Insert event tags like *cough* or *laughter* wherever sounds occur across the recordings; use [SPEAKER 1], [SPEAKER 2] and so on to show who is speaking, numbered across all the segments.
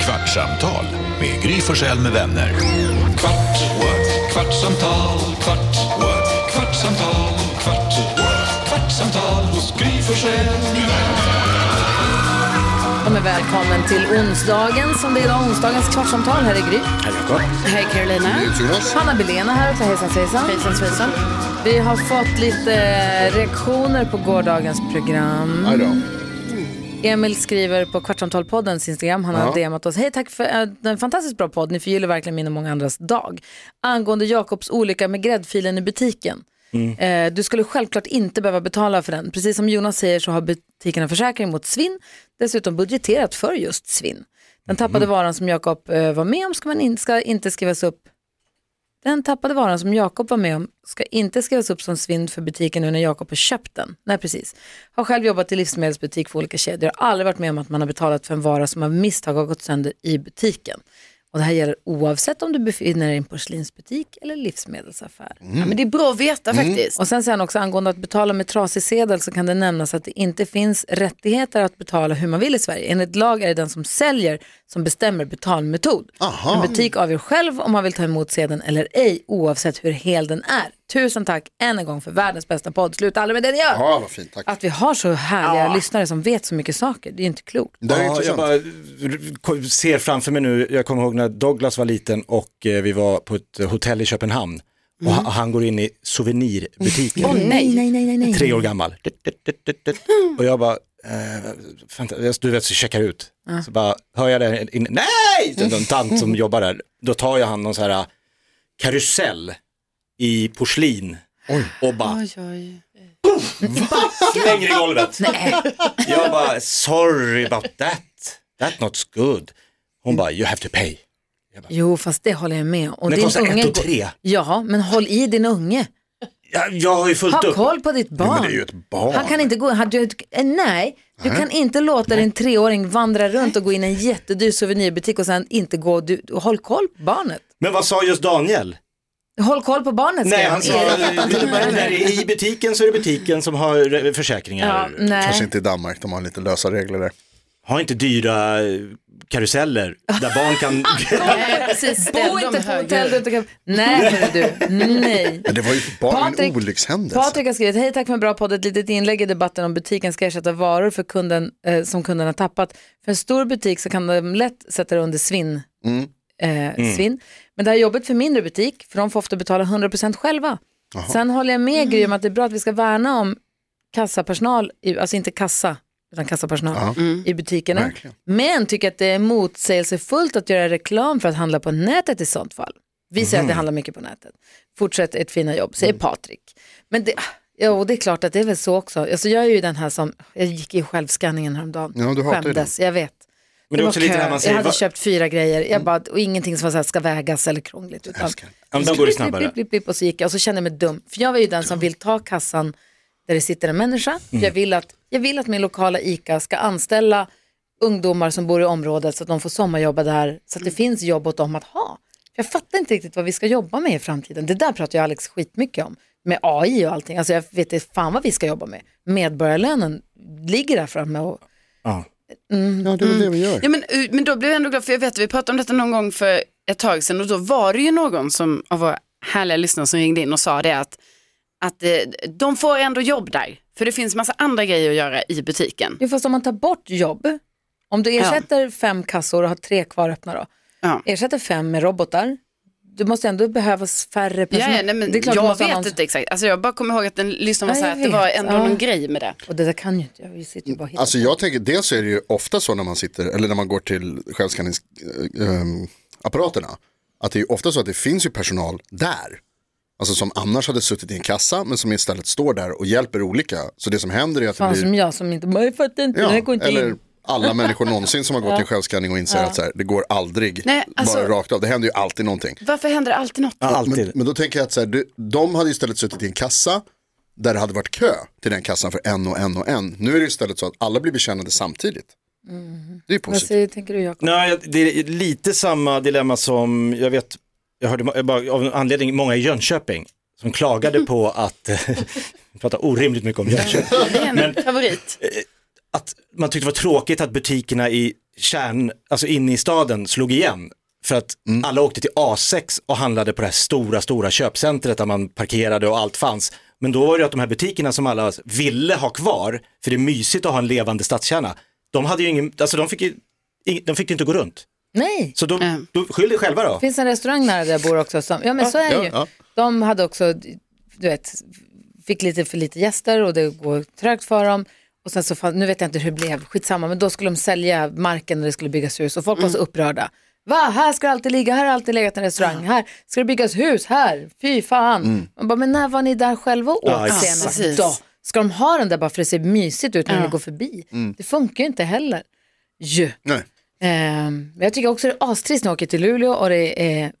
[SPEAKER 1] Kvartsamtal med Gry Forssell med vänner. Kvart, what? kvartsamtal, kvart, what? kvartsamtal, kvart, what? kvartsamtal hos Gry Forssell med vänner.
[SPEAKER 2] De är välkommen till onsdagen som det är idag, onsdagens kvartsamtal. Här är Gry.
[SPEAKER 3] Hej Jakob.
[SPEAKER 2] Hej Carolina. Hanna Belén är här också. Hejsan svejsan. Hejsan svejsan. Vi har fått lite eh, reaktioner på gårdagens program.
[SPEAKER 4] Aj då.
[SPEAKER 2] Emil skriver på Kvartsamtalpoddens Instagram, han har
[SPEAKER 4] Ja.
[SPEAKER 2] DMat oss. Hej, tack för eh, en fantastiskt bra podd. Ni förgyller verkligen min och många andras dag. Angående Jakobs olycka med gräddfilen i butiken. Eh, du skulle självklart inte behöva betala för den. Precis som Jonas säger så har butikerna försäkring mot svinn, dessutom budgeterat för just svinn. Den tappade varan som Jakob eh, var med om ska, man in, ska inte skrivas upp den tappade varan som Jakob var med om ska inte skrivas upp som svinn för butiken nu när Jakob har köpt den. Nej, precis. Har själv jobbat i livsmedelsbutik för olika kedjor och aldrig varit med om att man har betalat för en vara som av misstag har gått sönder i butiken. Och det här gäller oavsett om du befinner dig i en porslinsbutik eller livsmedelsaffär.
[SPEAKER 5] Ja, men det är bra att veta faktiskt.
[SPEAKER 2] Och sen säger han också angående att betala med trasig sedel så kan det nämnas att det inte finns rättigheter att betala hur man vill i Sverige. Enligt lag är det den som säljer som bestämmer betalmetod.
[SPEAKER 4] Aha.
[SPEAKER 2] En butik avgör själv om man vill ta emot sedeln eller ej oavsett hur hel den är. Tusen tack än en gång för världens bästa podd. Sluta aldrig med det ni gör.
[SPEAKER 4] Ja, vad fint. Tack.
[SPEAKER 2] Att vi har så härliga lyssnare som vet så mycket saker, det är ju inte klokt.
[SPEAKER 4] Det här är
[SPEAKER 3] Ja, jag
[SPEAKER 4] intressant.
[SPEAKER 3] bara r- ser framför mig nu, jag kommer ihåg när Douglas var liten och eh, vi var på ett eh, hotell i Köpenhamn och han, han går in i souvenirbutiken.
[SPEAKER 5] Åh nej.
[SPEAKER 2] nej, nej, nej. nej.
[SPEAKER 3] Tre år gammal. Dut, dut, dut, dut, dut. Och jag bara, eh, fanta- du vet så checkar jag ut. Så bara hör jag det, in, nej! Så en tant som jobbar där. Då tar jag hand någon så här eh, karusell i porslin och bara
[SPEAKER 5] Oj, oj.
[SPEAKER 3] slänger i golvet. Jag bara, sorry about that, that not good. Hon bara, you have to pay.
[SPEAKER 2] Jo, fast det håller jag med om. Och
[SPEAKER 3] Det
[SPEAKER 2] din
[SPEAKER 3] kostar ett
[SPEAKER 2] unge
[SPEAKER 3] och
[SPEAKER 2] går-
[SPEAKER 3] tre.
[SPEAKER 2] Ja, men håll i din unge.
[SPEAKER 3] Jag, jag har ju fullt
[SPEAKER 2] Ha
[SPEAKER 3] upp.
[SPEAKER 2] koll på ditt barn.
[SPEAKER 3] Ja, men det är ju ett barn.
[SPEAKER 2] Han kan inte gå, han, du, eh, nej, du kan inte låta din treåring vandra runt och gå in i en jättedyr souvenirbutik och sen inte gå, du, du- håll koll på barnet.
[SPEAKER 3] Men vad sa just Daniel?
[SPEAKER 2] Håll koll på barnet
[SPEAKER 3] Nej,
[SPEAKER 2] skrev
[SPEAKER 3] han sa,
[SPEAKER 2] Erik.
[SPEAKER 3] när det är i butiken så är det butiken som har eh, försäkringar.
[SPEAKER 2] Ja, mm.
[SPEAKER 4] Kanske
[SPEAKER 2] nej.
[SPEAKER 4] inte i Danmark, de har lite lösa regler där.
[SPEAKER 3] Ha inte dyra eh, karuseller där barn
[SPEAKER 2] *laughs*
[SPEAKER 3] kan...
[SPEAKER 5] Nej, precis.
[SPEAKER 2] Bo
[SPEAKER 5] Ställ
[SPEAKER 2] inte
[SPEAKER 5] dem
[SPEAKER 2] på
[SPEAKER 5] högre.
[SPEAKER 2] hotell du inte kan... Nej, hörru du. Nej.
[SPEAKER 4] Men det var ju bara
[SPEAKER 2] Patrik-
[SPEAKER 4] en olyckshändelse.
[SPEAKER 2] Patrik har skrivit, hej tack för en bra podd, ett litet inlägg i debatten om butiken ska ersätta varor för kunden, eh, som kunden har tappat. För en stor butik så kan de lätt sätta det under svinn. Eh, svinn. Men det här är jobbigt för mindre butik, för de får ofta betala 100% själva. Sen håller jag med Gry om att det är bra att vi ska värna om kassapersonal, i, alltså inte kassa, utan kassapersonal
[SPEAKER 3] Mm.
[SPEAKER 2] i butikerna.
[SPEAKER 4] Verkligen.
[SPEAKER 2] Men tycker att det är motsägelsefullt att göra reklam för att handla på nätet i sånt fall. Vi säger att
[SPEAKER 4] Mhm.
[SPEAKER 2] det handlar mycket på nätet. Fortsätt ert fina jobb,
[SPEAKER 4] Mm.
[SPEAKER 2] säger Patrik. Men det, jo, det är klart att det är väl så också. Alltså, jag är ju den här som, jag gick i självskanningen häromdagen.
[SPEAKER 4] Ja, du hatar ju
[SPEAKER 2] Skämdes, jag vet.
[SPEAKER 3] Men det är
[SPEAKER 2] var
[SPEAKER 3] också lite
[SPEAKER 2] kö.
[SPEAKER 3] det här man
[SPEAKER 2] jag
[SPEAKER 3] säger,
[SPEAKER 2] hade
[SPEAKER 3] va-
[SPEAKER 2] köpt fyra grejer jag bara, och ingenting som var så här, ska vägas eller krångligt. Utan,
[SPEAKER 3] Ja, men då går Mm. det snabbare.
[SPEAKER 2] Blip, blip, blip, och så gick jag och så kände jag mig dum. För jag var ju den som vill ta kassan där det sitter en människa. För
[SPEAKER 3] Mm.
[SPEAKER 2] Jag, vill att, jag vill att min lokala ICA ska anställa ungdomar som bor i området så att de får sommarjobba där. Så
[SPEAKER 3] Mm.
[SPEAKER 2] att det finns jobb åt dem att ha. Jag fattar inte riktigt vad vi ska jobba med i framtiden. Det där pratar jag Alex skitmycket om. Med AI och allting. Alltså jag vet inte fan vad vi ska jobba med. Medborgarlönen ligger där framme och
[SPEAKER 3] Ja.
[SPEAKER 4] Ja, det är väl det vi gör.
[SPEAKER 2] Mm.
[SPEAKER 5] Ja, men, uh, men då blev jag ändå glad, för jag vet att vi pratade om detta någon gång för ett tag sedan och då var det ju någon som, av våra härliga lyssnare som ringde in och sa det att, att eh, de får ändå jobb där. För det finns massa andra grejer att göra i butiken.
[SPEAKER 2] Jo, fast om man tar bort jobb, om du ersätter fem kassor och har tre kvar öppna då,
[SPEAKER 5] Ja.
[SPEAKER 2] ersätter fem med robotar, du måste ändå behövas färre
[SPEAKER 5] Ja,
[SPEAKER 2] personal.
[SPEAKER 5] ja, nej, men
[SPEAKER 2] det är klart du
[SPEAKER 5] jag
[SPEAKER 2] måste ha
[SPEAKER 5] vet
[SPEAKER 2] någon-
[SPEAKER 5] inte exakt. Alltså, jag bara kommer ihåg att den lyssnaren
[SPEAKER 2] Ja,
[SPEAKER 5] var så här,
[SPEAKER 2] jag
[SPEAKER 5] att det var
[SPEAKER 2] vet.
[SPEAKER 5] ändå
[SPEAKER 2] Ja.
[SPEAKER 5] någon grej med det.
[SPEAKER 2] Och det där kan ju inte jag, vi sitter ju bara och hittar
[SPEAKER 4] Alltså jag tänker, dels är det ju ofta så när man sitter, eller när man går till självskanningsapparaterna, att det är ju ofta så att det finns ju personal där. Alltså som annars hade suttit i en kassa, men som istället står där och hjälper olika. Så det som händer är att det
[SPEAKER 2] fan
[SPEAKER 4] blir...
[SPEAKER 2] som jag som inte, *laughs* "Men jag fattar inte, det här går inte
[SPEAKER 4] eller
[SPEAKER 2] in.
[SPEAKER 4] alla människor någonsin som har
[SPEAKER 2] *laughs*
[SPEAKER 4] gått i självskanning och inser att så här, det går aldrig
[SPEAKER 5] Nej, alltså-
[SPEAKER 4] bara rakt av. Det händer ju alltid någonting.
[SPEAKER 5] Varför händer det alltid något?
[SPEAKER 3] Ja,
[SPEAKER 4] Men,
[SPEAKER 3] alltid.
[SPEAKER 4] men då tänker jag att så här, du, de hade istället suttit i en kassa där det hade varit kö till den kassan för en och en och en. Nu är det istället så att alla blir betjänade samtidigt. Det är ju
[SPEAKER 2] Vad
[SPEAKER 4] positivt.
[SPEAKER 2] säger, tänker du Jakob?
[SPEAKER 3] Nej, det är lite samma dilemma som, jag vet, jag hörde ma- bara av en anledning, många i Jönköping som klagade
[SPEAKER 2] Mm.
[SPEAKER 3] på att, *laughs* vi pratar orimligt mycket om Jönköping,
[SPEAKER 5] Det är en favorit.
[SPEAKER 3] att man tyckte det var tråkigt att butikerna i kärn, alltså inne i staden slog igen. För att alla åkte till A6 och handlade på det här stora, stora köpcentret där man parkerade och allt fanns. Men då var det ju att de här butikerna som alla ville ha kvar, för det är mysigt att ha en levande stadskärna, de hade ju ingen, alltså de fick ju, ing- de fick ju inte gå runt.
[SPEAKER 2] Nej,
[SPEAKER 3] Så då,
[SPEAKER 5] Mm.
[SPEAKER 3] då skyll dig själva då.
[SPEAKER 2] det finns en restaurang nära där jag bor också. Som, ja men så är det
[SPEAKER 4] ja,
[SPEAKER 2] ju.
[SPEAKER 4] ja.
[SPEAKER 2] De hade också, du vet, fick lite för lite gäster och det går trögt för dem. Och sen så, fan- nu vet jag inte hur det blev, skitsamma, men då skulle de sälja marken när det skulle byggas hus och folk var så upprörda. Va, här ska det alltid ligga, här har alltid legat en restaurang, här ska det byggas hus, här, fy fan. Man bara, men när var ni där själva och åt
[SPEAKER 3] Ja,
[SPEAKER 2] senast
[SPEAKER 5] precis.
[SPEAKER 2] då? Ska de ha den där bara för att det ser mysigt ut när
[SPEAKER 5] Ja.
[SPEAKER 2] ni går förbi? Det funkar ju inte heller. Ju.
[SPEAKER 4] Nej.
[SPEAKER 2] Ehm, men jag tycker också det är astrist när jag åker till Luleå och det är,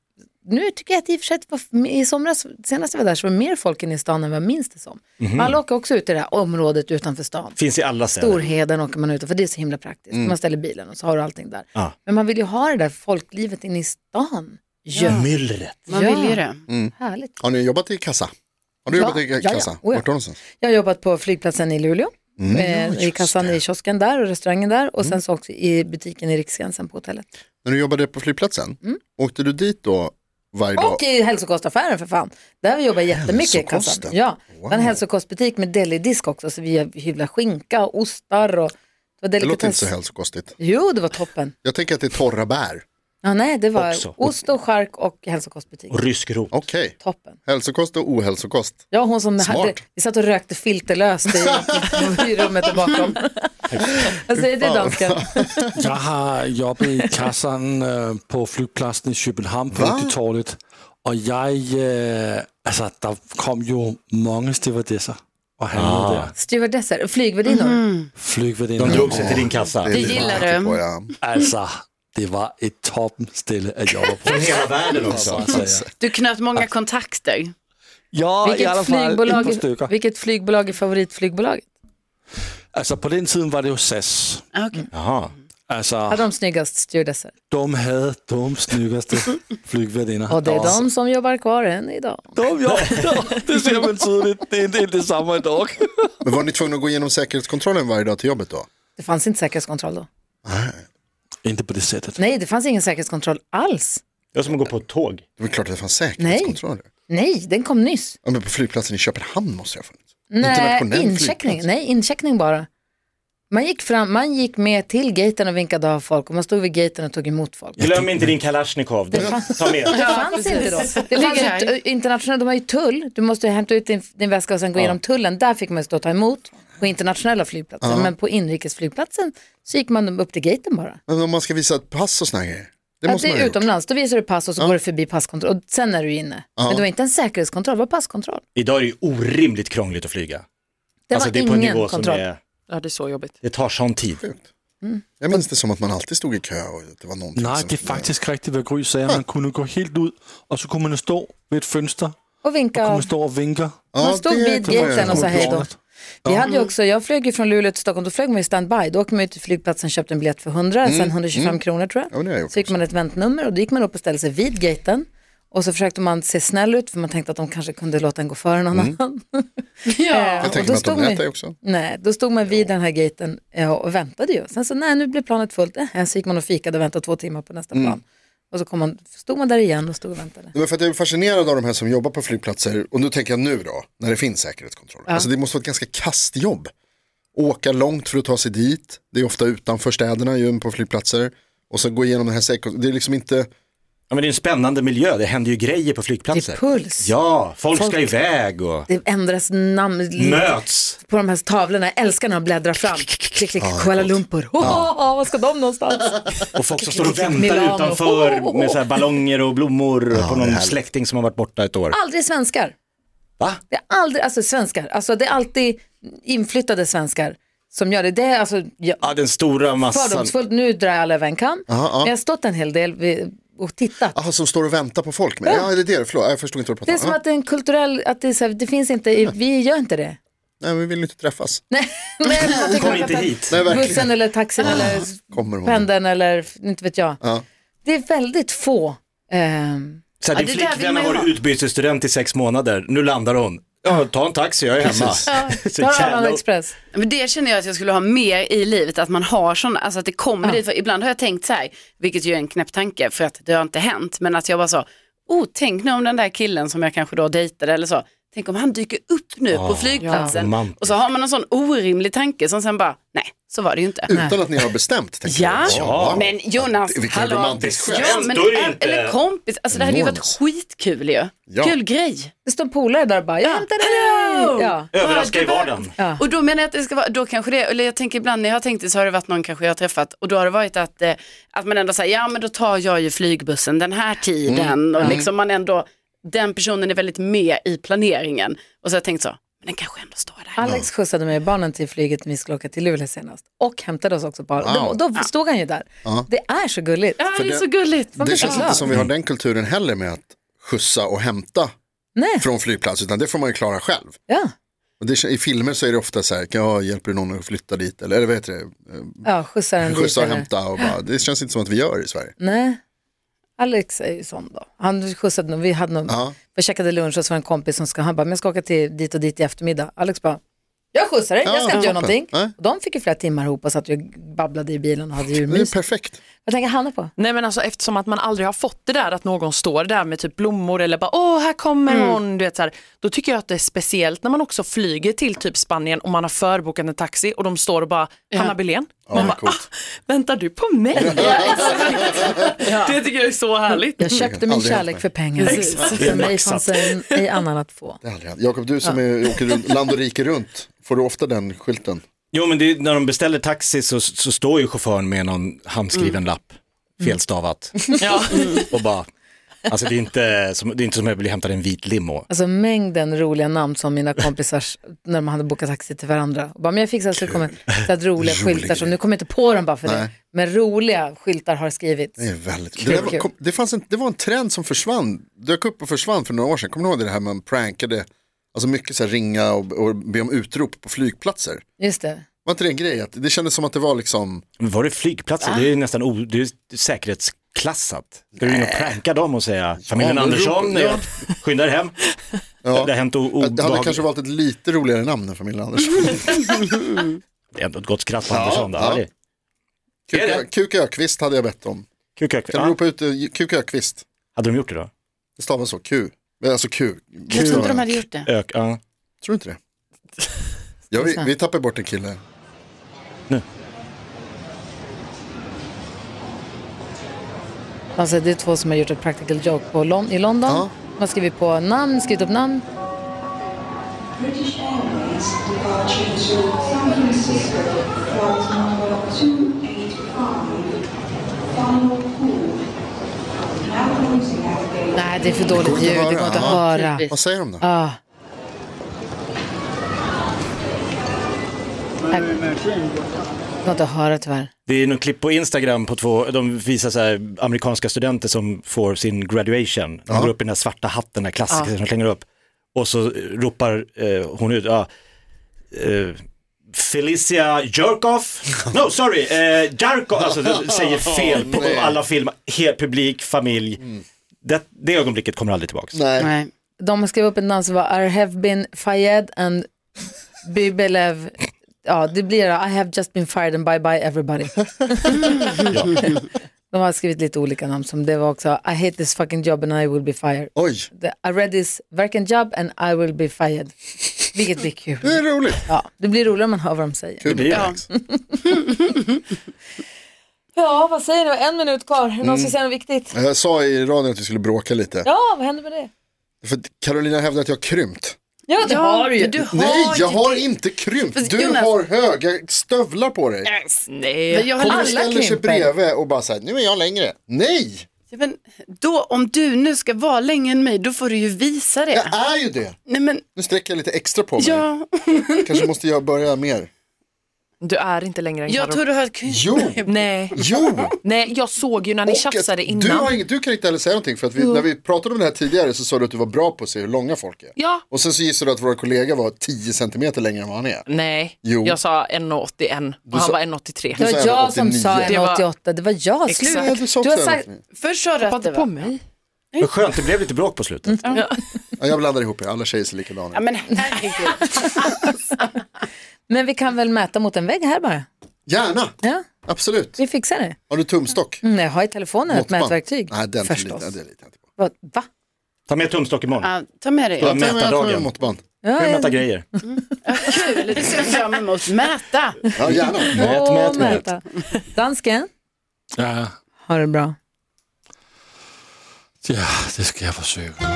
[SPEAKER 2] nu tycker jag att i och för sig att det var, i somras, senast jag var där så var det mer folk inne i stan än vad jag minns det som. Alla åker också ut i det här området utanför stan.
[SPEAKER 3] Finns i alla städer.
[SPEAKER 2] Storheden åker man ut för det är så himla praktiskt. Man ställer bilen och så har du allting där.
[SPEAKER 3] Ja.
[SPEAKER 2] Men man vill ju ha det där folklivet inne i stan. Ja.
[SPEAKER 3] Myllret.
[SPEAKER 5] Man
[SPEAKER 2] Ja.
[SPEAKER 5] vill ju det.
[SPEAKER 2] Härligt.
[SPEAKER 4] Har ni jobbat i kassa? Har du
[SPEAKER 2] Ja,
[SPEAKER 4] jobbat i
[SPEAKER 2] ja,
[SPEAKER 4] kassa?
[SPEAKER 2] ja. Oh, ja.
[SPEAKER 4] Vart då någonstans?
[SPEAKER 2] Jag har jobbat på flygplatsen i Luleå,
[SPEAKER 4] Mm,
[SPEAKER 2] eh, i kassan i kiosken där och restaurangen där och sen så också i butiken i Riksgränsen på hotellet.
[SPEAKER 4] När du jobbade på flygplatsen,
[SPEAKER 2] Mm.
[SPEAKER 4] åkte du dit då varje dag?
[SPEAKER 2] Och i hälsokostaffären för fan. Där vi jobbar jättemycket i kassan.
[SPEAKER 4] Hälsokosten?
[SPEAKER 2] Ja, det var en hälsokostbutik med delidisk också. Så vi hyvlar skinka och ostar och... Det, var
[SPEAKER 4] Det låter inte
[SPEAKER 2] delikatess.
[SPEAKER 4] så hälsokostigt.
[SPEAKER 2] Jo, det var toppen.
[SPEAKER 4] Jag tänker att det är torra bär.
[SPEAKER 2] Ja, nej, det var
[SPEAKER 3] Också.
[SPEAKER 2] ost och chark och hälsokostbutik.
[SPEAKER 3] Och rysk rot.
[SPEAKER 4] Okej,
[SPEAKER 2] Toppen.
[SPEAKER 4] hälsokost och ohälsokost.
[SPEAKER 2] Ja, hon som
[SPEAKER 4] Smart.
[SPEAKER 2] hade, vi satt och rökte filterlöst i, i rummet där bakom. Vad säger du dansken?
[SPEAKER 6] Jeg har jobbet i kassen øh, på flypladsen i København på Torvet, og jeg, øh, altså, der kom jo mange stewardesser og handlede der.
[SPEAKER 2] Stewardesser, flygvärdinnor.
[SPEAKER 6] Flygværdinder.
[SPEAKER 3] De drog sig till din kassa.
[SPEAKER 4] är
[SPEAKER 5] Det
[SPEAKER 4] lite
[SPEAKER 5] gillar
[SPEAKER 4] vackert
[SPEAKER 5] du.
[SPEAKER 4] på, ja.
[SPEAKER 6] Altså, det var et toppen stille at jobbe
[SPEAKER 3] *laughs*
[SPEAKER 6] på.
[SPEAKER 3] Hela världen också.
[SPEAKER 6] Altså,
[SPEAKER 5] Du knöt många kontakter.
[SPEAKER 6] ja, i alla
[SPEAKER 2] Vilket
[SPEAKER 6] fall et par stykker.
[SPEAKER 2] flygbolag, vilket flygbolag är favoritflygbolaget?
[SPEAKER 6] Altså, på den tiden var det jo SAS.
[SPEAKER 5] Ah, okej.
[SPEAKER 3] Jaha.
[SPEAKER 6] Altså,
[SPEAKER 2] Hade de snyggast stewardesser?
[SPEAKER 6] de havde de snyggaste flygværdinder.
[SPEAKER 2] Och det
[SPEAKER 6] der var
[SPEAKER 2] är de som jobbar kvar än idag.
[SPEAKER 6] Dum, jo. *laughs* det ser man tydeligt. Det er en del det samme i dag.
[SPEAKER 4] Men var ni tvungna att gå igenom säkerhetskontrollen varje dag till jobbet då?
[SPEAKER 2] Det fanns inte säkerhetskontroll då.
[SPEAKER 6] Inte på det sättet.
[SPEAKER 2] Nej, det fanns ingen säkerhetskontroll alls.
[SPEAKER 3] Det var som att gå på ett tåg.
[SPEAKER 4] Det är väl klart att det fanns säkerhetskontroller.
[SPEAKER 2] Nej, den kom nyss.
[SPEAKER 4] Ja, men på flygplatsen i Köpenhamn måste jag ha funnits.
[SPEAKER 2] Nej,
[SPEAKER 4] Internationell
[SPEAKER 2] incheckning.
[SPEAKER 4] flygplats.
[SPEAKER 2] Nej, incheckning bara. Man gick, fram, man gick med till gaten och vinkade av folk och man stod vid gaten och tog emot folk.
[SPEAKER 3] Glöm inte din Kalashnikov. Den- Ta med.
[SPEAKER 2] Det fanns inte då. Det fanns
[SPEAKER 5] Ligger
[SPEAKER 2] ju t- internationellt, de har ju tull. Du måste ju hämta ut din, din väska och sen gå igenom tullen. Där fick man stå och ta emot på internationella flygplatser. Men på inrikesflygplatsen så gick man upp till gaten bara.
[SPEAKER 4] Men om man ska visa ett pass och såna här grejer. Det
[SPEAKER 2] Ja,
[SPEAKER 4] måste
[SPEAKER 2] det
[SPEAKER 4] man
[SPEAKER 2] är
[SPEAKER 4] ha gjort.
[SPEAKER 2] utomlands, då visar du pass och så går du förbi passkontroll och sen är du inne. Men det var inte en säkerhetskontroll, det var passkontroll.
[SPEAKER 3] Idag är det ju orimligt krångligt att flyga.
[SPEAKER 2] Det
[SPEAKER 3] Alltså
[SPEAKER 2] var
[SPEAKER 3] det är på en
[SPEAKER 2] ingen
[SPEAKER 3] nivå som
[SPEAKER 2] kontroll.
[SPEAKER 3] är,
[SPEAKER 7] Ja, det är så jobbigt.
[SPEAKER 5] *laughs*
[SPEAKER 3] det tar sån tid.
[SPEAKER 4] Jag minns det som att man alltid stod i kö och det var någonting
[SPEAKER 6] Nej,
[SPEAKER 4] som...
[SPEAKER 6] det er faktisk rigtigt, hvad Gry sagde. Man kunne gå helt ud, og så kunne man stå ved et fönster,
[SPEAKER 2] Och vinka
[SPEAKER 6] kunne
[SPEAKER 2] av.
[SPEAKER 6] man stå og vinke.
[SPEAKER 4] Ja,
[SPEAKER 2] Man stod
[SPEAKER 4] det
[SPEAKER 2] vid
[SPEAKER 4] kommer jag
[SPEAKER 2] gaten och sa
[SPEAKER 4] ihåg.
[SPEAKER 2] hej då. Vi hade ju också, jag flög ju från Luleå till Stockholm, då flög man ju standby. Då åkte man ut till flygplatsen, köpte en biljett för 100,
[SPEAKER 3] Mm,
[SPEAKER 2] sen 125 kronor tror
[SPEAKER 4] men det har
[SPEAKER 2] jag.
[SPEAKER 4] jag gjort
[SPEAKER 2] så fick man ett väntnummer och då gick man upp och ställde sig vid gaten. Och så försökte man se snäll ut för man tänkte att de kanske kunde låta en gå före någon
[SPEAKER 3] Mm.
[SPEAKER 2] annan. *laughs* Eh,
[SPEAKER 4] Jag
[SPEAKER 2] och
[SPEAKER 4] tänker
[SPEAKER 2] då
[SPEAKER 4] mig att
[SPEAKER 2] stod
[SPEAKER 4] de
[SPEAKER 2] man ju-
[SPEAKER 4] lät dig också.
[SPEAKER 2] Nej, då stod man vid den här gaten eh, och väntade ju. Sen så, nej nu blev planet fullt, eh, så gick man och fikade och väntade två timmar på
[SPEAKER 3] Mm.
[SPEAKER 2] nästa plan. Och så kom man, stod man där igen och stod och väntade.
[SPEAKER 4] Men för att jag är fascinerad av de här som jobbar på flygplatser, och nu tänker jag nu då, när det finns säkerhetskontroller. Alltså det måste vara ett ganska kastjobb. Åka långt för att ta sig dit, det är ofta utanför städerna ju på flygplatser. Och så gå igenom den här säkerhetskontrollen, det är liksom inte,
[SPEAKER 3] Ja, men det är en spännande miljö, det händer ju grejer på
[SPEAKER 2] Det
[SPEAKER 3] flygplatser.
[SPEAKER 2] är puls.
[SPEAKER 3] Alltså, Ja, folk,
[SPEAKER 2] Folk-
[SPEAKER 3] ska iväg och
[SPEAKER 2] Det ändras namn
[SPEAKER 3] möts.
[SPEAKER 2] på de här tavlorna, jag älskar när de bläddrar fram. Klick, klick, Kuala Lumpur, oh, var ska de
[SPEAKER 4] *laughs*
[SPEAKER 2] någonstans?
[SPEAKER 3] Och folk som står och väntar
[SPEAKER 2] Milano. Oh,
[SPEAKER 3] utanför med så här ballonger och blommor på någon släkting som har varit borta ett år.
[SPEAKER 2] Aldrig svenskar.
[SPEAKER 3] Va?
[SPEAKER 2] Det är aldrig, alltså svenskar, alltså det är alltid inflyttade svenskar som gör det. Det är alltså, jag,
[SPEAKER 3] Ja, den stora massan.
[SPEAKER 2] fördomsfullt, nu drar jag alla över en kam.
[SPEAKER 4] Ja, Alltså. ja.
[SPEAKER 2] Men jag har stått en hel del vid, och tittat.
[SPEAKER 4] aha som står och väntar på folk. Men, ja, är det det? Förlåt, jag förstod inte vad du
[SPEAKER 2] Det är
[SPEAKER 4] pratade
[SPEAKER 2] som
[SPEAKER 4] om. Ja.
[SPEAKER 2] att det är en kulturell, att det, är så här, det finns inte, i- vi gör inte
[SPEAKER 4] *laughs*
[SPEAKER 2] det.
[SPEAKER 4] Nej, vi vill inte träffas.
[SPEAKER 2] Nej, nej, men jag tycker
[SPEAKER 3] Kom
[SPEAKER 2] man
[SPEAKER 3] inte
[SPEAKER 2] kan ta
[SPEAKER 3] hit.
[SPEAKER 4] Nej, verkligen. Ah.
[SPEAKER 2] Bussen eller taxin eller
[SPEAKER 4] Kommer hon.
[SPEAKER 2] pendeln eller inte vet jag.
[SPEAKER 4] Ja.
[SPEAKER 2] Det är väldigt få. ehm,
[SPEAKER 3] Så här, din
[SPEAKER 5] Ja, det där vill
[SPEAKER 3] flickvän
[SPEAKER 5] man
[SPEAKER 3] har
[SPEAKER 5] ju
[SPEAKER 3] varit
[SPEAKER 5] ha.
[SPEAKER 3] utbytesstudent i sex månader, nu landar hon. Ja, ta en taxi, jag är hemma. *laughs* Så
[SPEAKER 2] Ta Arlanda
[SPEAKER 3] jävla-
[SPEAKER 2] Express.
[SPEAKER 5] Men det känner jag att jag skulle ha mer i livet, att man har sådana, alltså att det kommer dit. För ibland har jag tänkt så här, vilket ju är en knäpp tanke för att det har inte hänt, men att jag bara så, oh tänk nu om den där killen som jag kanske då dejtade eller så, tänk om han dyker upp nu
[SPEAKER 4] Ah,
[SPEAKER 5] på flygplatsen.
[SPEAKER 3] romantiskt.
[SPEAKER 5] Och så har man en sån orimlig tanke som sen bara, nej, Mm. så var det ju inte.
[SPEAKER 4] Utan att ni har bestämt. tänker
[SPEAKER 5] Ja.
[SPEAKER 4] jag. ja.
[SPEAKER 5] Men Jonas,
[SPEAKER 4] Vilken
[SPEAKER 5] hallå.
[SPEAKER 4] romantisk
[SPEAKER 5] Ja,
[SPEAKER 4] skämt.
[SPEAKER 5] men,
[SPEAKER 3] Då är det inte-
[SPEAKER 5] eller kompis, alltså det hade ju varit skitkul ju.
[SPEAKER 4] Ja.
[SPEAKER 5] Kul grej.
[SPEAKER 2] Det står en polare där och bara, jag hämtar dig. Ja.
[SPEAKER 3] Överraska i vardagen.
[SPEAKER 2] Ja.
[SPEAKER 5] Oh, Och då menar jag att det ska vara, då kanske det, eller jag tänker ibland när jag har tänkt det så har det varit någon kanske jag har träffat och då har det varit att, eh, att man ändå säger, ja men då tar jag ju flygbussen den här tiden
[SPEAKER 4] Mm.
[SPEAKER 5] och liksom man ändå, den personen är väldigt med i planeringen. Och så har jag tänkt så, men den kanske ändå står där.
[SPEAKER 2] Alex skjutsade mig och barnen till flyget när vi skulle åka till Luleå senast. Och hämtade oss också på Arlanda.
[SPEAKER 4] Wow.
[SPEAKER 2] Då, då stod han ju där. Det är så gulligt.
[SPEAKER 5] Ja, det är
[SPEAKER 4] det-
[SPEAKER 5] så gulligt.
[SPEAKER 2] Man blir
[SPEAKER 4] Det
[SPEAKER 2] så
[SPEAKER 4] känns
[SPEAKER 2] glad.
[SPEAKER 4] inte som vi har den kulturen heller med att skjutsa och hämta
[SPEAKER 2] Nej.
[SPEAKER 4] från flygplats, utan det får man ju klara själv.
[SPEAKER 2] Ja.
[SPEAKER 4] Och det, I filmer så är det ofta så här, ja, hjälper du någon att flytta dit? Eller, eller vad heter det? Eh,
[SPEAKER 2] ja, skjutsar en dit.
[SPEAKER 4] Skjutsa och
[SPEAKER 2] eller-
[SPEAKER 4] hämta och bara, det känns inte som att vi gör i Sverige.
[SPEAKER 2] Nej. Alex är ju sån då. Han skjutsade någon, vi hade någon,
[SPEAKER 4] Ja.
[SPEAKER 2] vi käkade lunch och så var det en kompis som ska, han bara, men jag ska åka till, dit och dit i eftermiddag. Alex bara, jag skjutsar dig, jag
[SPEAKER 4] Ja,
[SPEAKER 2] ska inte göra
[SPEAKER 4] toppen.
[SPEAKER 2] någonting.
[SPEAKER 4] Nej.
[SPEAKER 2] Och de fick ju flera timmar ihop och satt och babblade i bilen och hade
[SPEAKER 4] Det är ju
[SPEAKER 2] djurmys.
[SPEAKER 4] perfekt.
[SPEAKER 2] Vad tänker Hanna på?
[SPEAKER 7] Nej men alltså eftersom att man aldrig har fått det där att någon står där med typ blommor eller bara åh här kommer
[SPEAKER 4] Mm.
[SPEAKER 7] hon, du vet så här. Då tycker jag att det är speciellt när man också flyger till typ Spanien och man har förbokat en taxi och de står och bara Hanna Billén. man
[SPEAKER 4] det är
[SPEAKER 7] bara ah,
[SPEAKER 4] coolt.
[SPEAKER 7] väntar du på mig? *laughs* Det tycker jag är så härligt.
[SPEAKER 2] Jag köpte min
[SPEAKER 4] Mm. Aldrig hänt
[SPEAKER 2] kärlek
[SPEAKER 4] mig.
[SPEAKER 2] för pengar. För mig fanns en- ej annan att få.
[SPEAKER 4] Det har aldrig hänt. Jakob, du som är, åker runt, land och rike runt, får du ofta den skylten?
[SPEAKER 3] Jo men det, är- när de beställer taxi så, så står ju chauffören med någon handskriven
[SPEAKER 4] Mm.
[SPEAKER 3] lapp,
[SPEAKER 4] *laughs*
[SPEAKER 3] felstavat. Mm.
[SPEAKER 7] Ja.
[SPEAKER 3] Och bara, alltså det är inte som, det är inte som att jag blir hämtad i en vit limo.
[SPEAKER 2] Alltså mängden roliga namn som
[SPEAKER 4] *laughs*
[SPEAKER 2] mina kompisar, när man hade bokat taxi till varandra, och bara, men jag fixar så det kommer så att roliga skyltar som, nu kommer jag inte på dem bara för det,
[SPEAKER 4] Nej.
[SPEAKER 2] men roliga skyltar har skrivits.
[SPEAKER 4] Det är väldigt
[SPEAKER 2] Kul,
[SPEAKER 4] det, där var,
[SPEAKER 2] kul.
[SPEAKER 4] kom, det, fanns en, det var en trend som försvann, dök upp och försvann för några år sedan. Kommer ni ihåg det här man prankade, alltså mycket så här ringa och, och be om utrop på flygplatser?
[SPEAKER 2] Just det.
[SPEAKER 4] Var inte det en grej? Att det kändes som att det var liksom,
[SPEAKER 3] Men var det flygplatser?
[SPEAKER 4] Ah.
[SPEAKER 3] Det är nästan o, det är säkerhetsklassat. Ska du ringa och pranka dem och säga familjen
[SPEAKER 4] men
[SPEAKER 3] Andersson,
[SPEAKER 4] ro- ja.
[SPEAKER 3] eh, skynda er hem.
[SPEAKER 4] ja,
[SPEAKER 3] Det har hänt o,
[SPEAKER 4] det hade kanske
[SPEAKER 3] obehagligt.
[SPEAKER 4] valt ett lite roligare namn än familjen
[SPEAKER 5] *laughs*
[SPEAKER 4] Andersson.
[SPEAKER 3] Det är ändå ett gott skratt på Andersson.
[SPEAKER 4] ja.
[SPEAKER 3] Ja, ja.
[SPEAKER 4] Kuka- Kuk Ökvist hade jag bett om.
[SPEAKER 3] Kukök.
[SPEAKER 4] Kan du ropa ut eh, Kuk Ökvist?
[SPEAKER 3] Hade de gjort det då?
[SPEAKER 4] Det stavas så, Q. Men Alltså Q.
[SPEAKER 5] Jag tror inte de hade gjort det.
[SPEAKER 3] Ök, ja.
[SPEAKER 4] Tror du inte det? Ja, vi, vi tappar bort en kille.
[SPEAKER 2] Alltså det är två som har gjort ett practical joke på Lon- i London.
[SPEAKER 4] Ja.
[SPEAKER 2] De har skrivit på namn, skrivit upp namn.
[SPEAKER 8] British Airways departure to San Francisco, flight number 285, final pool. Now closing at
[SPEAKER 2] Nej, det är för dåligt
[SPEAKER 4] Det går inte
[SPEAKER 2] ljud,
[SPEAKER 4] att
[SPEAKER 2] det går
[SPEAKER 4] höra.
[SPEAKER 2] inte att
[SPEAKER 4] Ja.
[SPEAKER 2] höra.
[SPEAKER 5] Typiskt.
[SPEAKER 4] Vad säger de då?
[SPEAKER 2] Ah. Här- Det går inte att höra tyvärr.
[SPEAKER 3] Det är något klipp på Instagram på två, de visar så här, amerikanska studenter som får sin graduation. De går upp i den här svarta hatten, den här klassiska som de slänger upp. Och så ropar eh, hon ut, ja, eh, Felicia Jerkoff, no sorry, eh, Jarkoff, alltså
[SPEAKER 4] *laughs*
[SPEAKER 3] det säger fel på
[SPEAKER 4] Nej. Mm.
[SPEAKER 3] alla filmer, hel publik, familj. Det, det ögonblicket kommer aldrig tillbaka.
[SPEAKER 4] Nej,
[SPEAKER 5] Nej.
[SPEAKER 2] De skrev upp ett namn som var I have been fired and Bibelev. Ja, det blir I have just been fired and bye bye
[SPEAKER 4] *laughs*
[SPEAKER 2] everybody. De har skrivit lite olika namn som det var också I hate this fucking job and I will be fired.
[SPEAKER 4] oj.
[SPEAKER 2] The, I read this working job and I will be fired. Vilket blir kul.
[SPEAKER 4] Det är roligt.
[SPEAKER 2] Ja, det blir roligare om man hör vad de säger.
[SPEAKER 3] Det blir det.
[SPEAKER 2] Ja, vad säger ni? En minut kvar. Är det någon som
[SPEAKER 4] Mm.
[SPEAKER 2] säger något viktigt?
[SPEAKER 4] Jag sa i radion att vi skulle bråka lite.
[SPEAKER 2] Ja, vad händer med det?
[SPEAKER 4] För att Carolina hävdar att jag har krympt.
[SPEAKER 2] Ja, det har du ju.
[SPEAKER 5] Du har
[SPEAKER 4] Nej, jag
[SPEAKER 5] ju
[SPEAKER 4] har
[SPEAKER 5] det.
[SPEAKER 4] inte krympt.
[SPEAKER 5] Fast
[SPEAKER 4] Du
[SPEAKER 5] Jonas-
[SPEAKER 4] har höga stövlar på dig.
[SPEAKER 5] Men jag har
[SPEAKER 4] Kommer och
[SPEAKER 5] aldrig-
[SPEAKER 4] ställer sig
[SPEAKER 2] krymper.
[SPEAKER 4] bredvid och bara säger, nu är jag längre. Nej,
[SPEAKER 5] Ja, men då, om du nu ska vara längre än mig, då får du ju visa det.
[SPEAKER 4] jag är ju det.
[SPEAKER 5] Nej men,
[SPEAKER 4] Nu sträcker jag lite extra på mig.
[SPEAKER 5] ja,
[SPEAKER 4] Kanske måste jag börja mer.
[SPEAKER 7] Du är inte längre än
[SPEAKER 5] jag
[SPEAKER 7] Carro.
[SPEAKER 5] tror du har ett kul.
[SPEAKER 4] Jo,
[SPEAKER 7] Nej.
[SPEAKER 4] jo.
[SPEAKER 7] Nej, jag såg ju när ni
[SPEAKER 4] Och att
[SPEAKER 7] tjafsade innan.
[SPEAKER 4] Du, har inget, du kan inte heller säga någonting för att vi, när vi pratade om det här tidigare så sa du att du var bra på att se hur långa folk är.
[SPEAKER 7] Ja.
[SPEAKER 4] Och sen så gissade du att vår kollega var 10 centimeter längre än vad han är.
[SPEAKER 7] Nej,
[SPEAKER 4] Jo.
[SPEAKER 7] jag sa 1,81 och han
[SPEAKER 4] sa-
[SPEAKER 7] var 1,83.
[SPEAKER 2] Det
[SPEAKER 4] sa
[SPEAKER 2] var
[SPEAKER 4] jag
[SPEAKER 2] jag
[SPEAKER 4] var
[SPEAKER 2] som sa
[SPEAKER 4] 89.
[SPEAKER 7] Det var-
[SPEAKER 2] 1,88. Det var jag.
[SPEAKER 7] Exakt.
[SPEAKER 2] Sluta.
[SPEAKER 4] Ja, du sa
[SPEAKER 2] Du
[SPEAKER 4] också
[SPEAKER 2] har
[SPEAKER 4] det.
[SPEAKER 2] sagt,
[SPEAKER 5] Först sa du att det
[SPEAKER 7] Hoppade på
[SPEAKER 5] var...
[SPEAKER 7] mig.
[SPEAKER 3] Vad skönt, det blev lite bråk på slutet.
[SPEAKER 4] Ja, jag blandar ihop er, alla tjejer ser likadana
[SPEAKER 5] Ja,
[SPEAKER 4] ut.
[SPEAKER 5] men herregud.
[SPEAKER 2] Men vi kan väl mäta mot en vägg här bara?
[SPEAKER 4] Gärna,
[SPEAKER 2] Ja,
[SPEAKER 4] absolut.
[SPEAKER 2] vi fixar det.
[SPEAKER 4] Har du tumstock?
[SPEAKER 2] Mm, jag har i telefonen ett
[SPEAKER 4] Måttband?
[SPEAKER 2] mätverktyg.
[SPEAKER 4] Nej, den
[SPEAKER 2] förstås.
[SPEAKER 4] förstås. Det litar jag inte på.
[SPEAKER 2] Vad- Va?
[SPEAKER 3] Ta med tumstock imorgon.
[SPEAKER 5] Ja, ta med dig.
[SPEAKER 3] Ja, men-
[SPEAKER 5] Jag
[SPEAKER 3] Mäta
[SPEAKER 4] Jag tar med
[SPEAKER 3] dagen.
[SPEAKER 4] måttband.
[SPEAKER 3] Ska vi mäta grejer?
[SPEAKER 5] tar kul. Det ser jag fram emot. Mäta.
[SPEAKER 4] Ja, gärna.
[SPEAKER 3] Mät,
[SPEAKER 2] Åh,
[SPEAKER 3] mät, mät.
[SPEAKER 2] mäta. Dansken,
[SPEAKER 6] Ja,
[SPEAKER 2] har det bra.
[SPEAKER 6] ja, det ska jag försöka.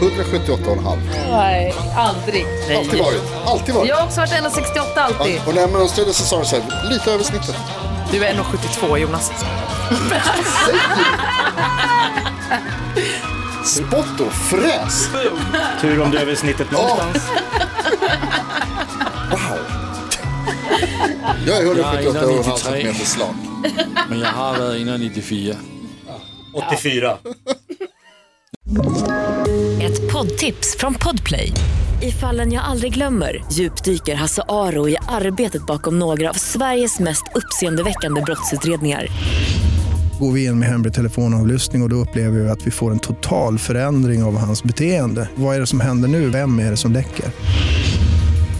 [SPEAKER 4] 178,5.
[SPEAKER 2] Nej, aldrig.
[SPEAKER 4] Alltid varit. Alltid varit.
[SPEAKER 2] Jag har också varit 1,68 alltid.
[SPEAKER 4] Och när jag mönstrade så sa du så här, lite över snittet.
[SPEAKER 9] Du är 1,72 Jonas.
[SPEAKER 4] Spott och fräs.
[SPEAKER 3] Tur om du är över snittet någonstans.
[SPEAKER 4] Jag är 178,5
[SPEAKER 6] Jag är
[SPEAKER 4] centimeter slak.
[SPEAKER 6] Men jag har varit innan 94.
[SPEAKER 3] 84.
[SPEAKER 7] Ett poddtips från Podplay. I fallen jag aldrig glömmer djupdyker Hasse Aro i arbetet bakom några av Sveriges mest uppseendeväckande brottsutredningar.
[SPEAKER 1] Går vi in med hemlig telefonavlyssning och, och då upplever vi att vi får en total förändring av hans beteende. Vad är det som händer nu? Vem är det som läcker?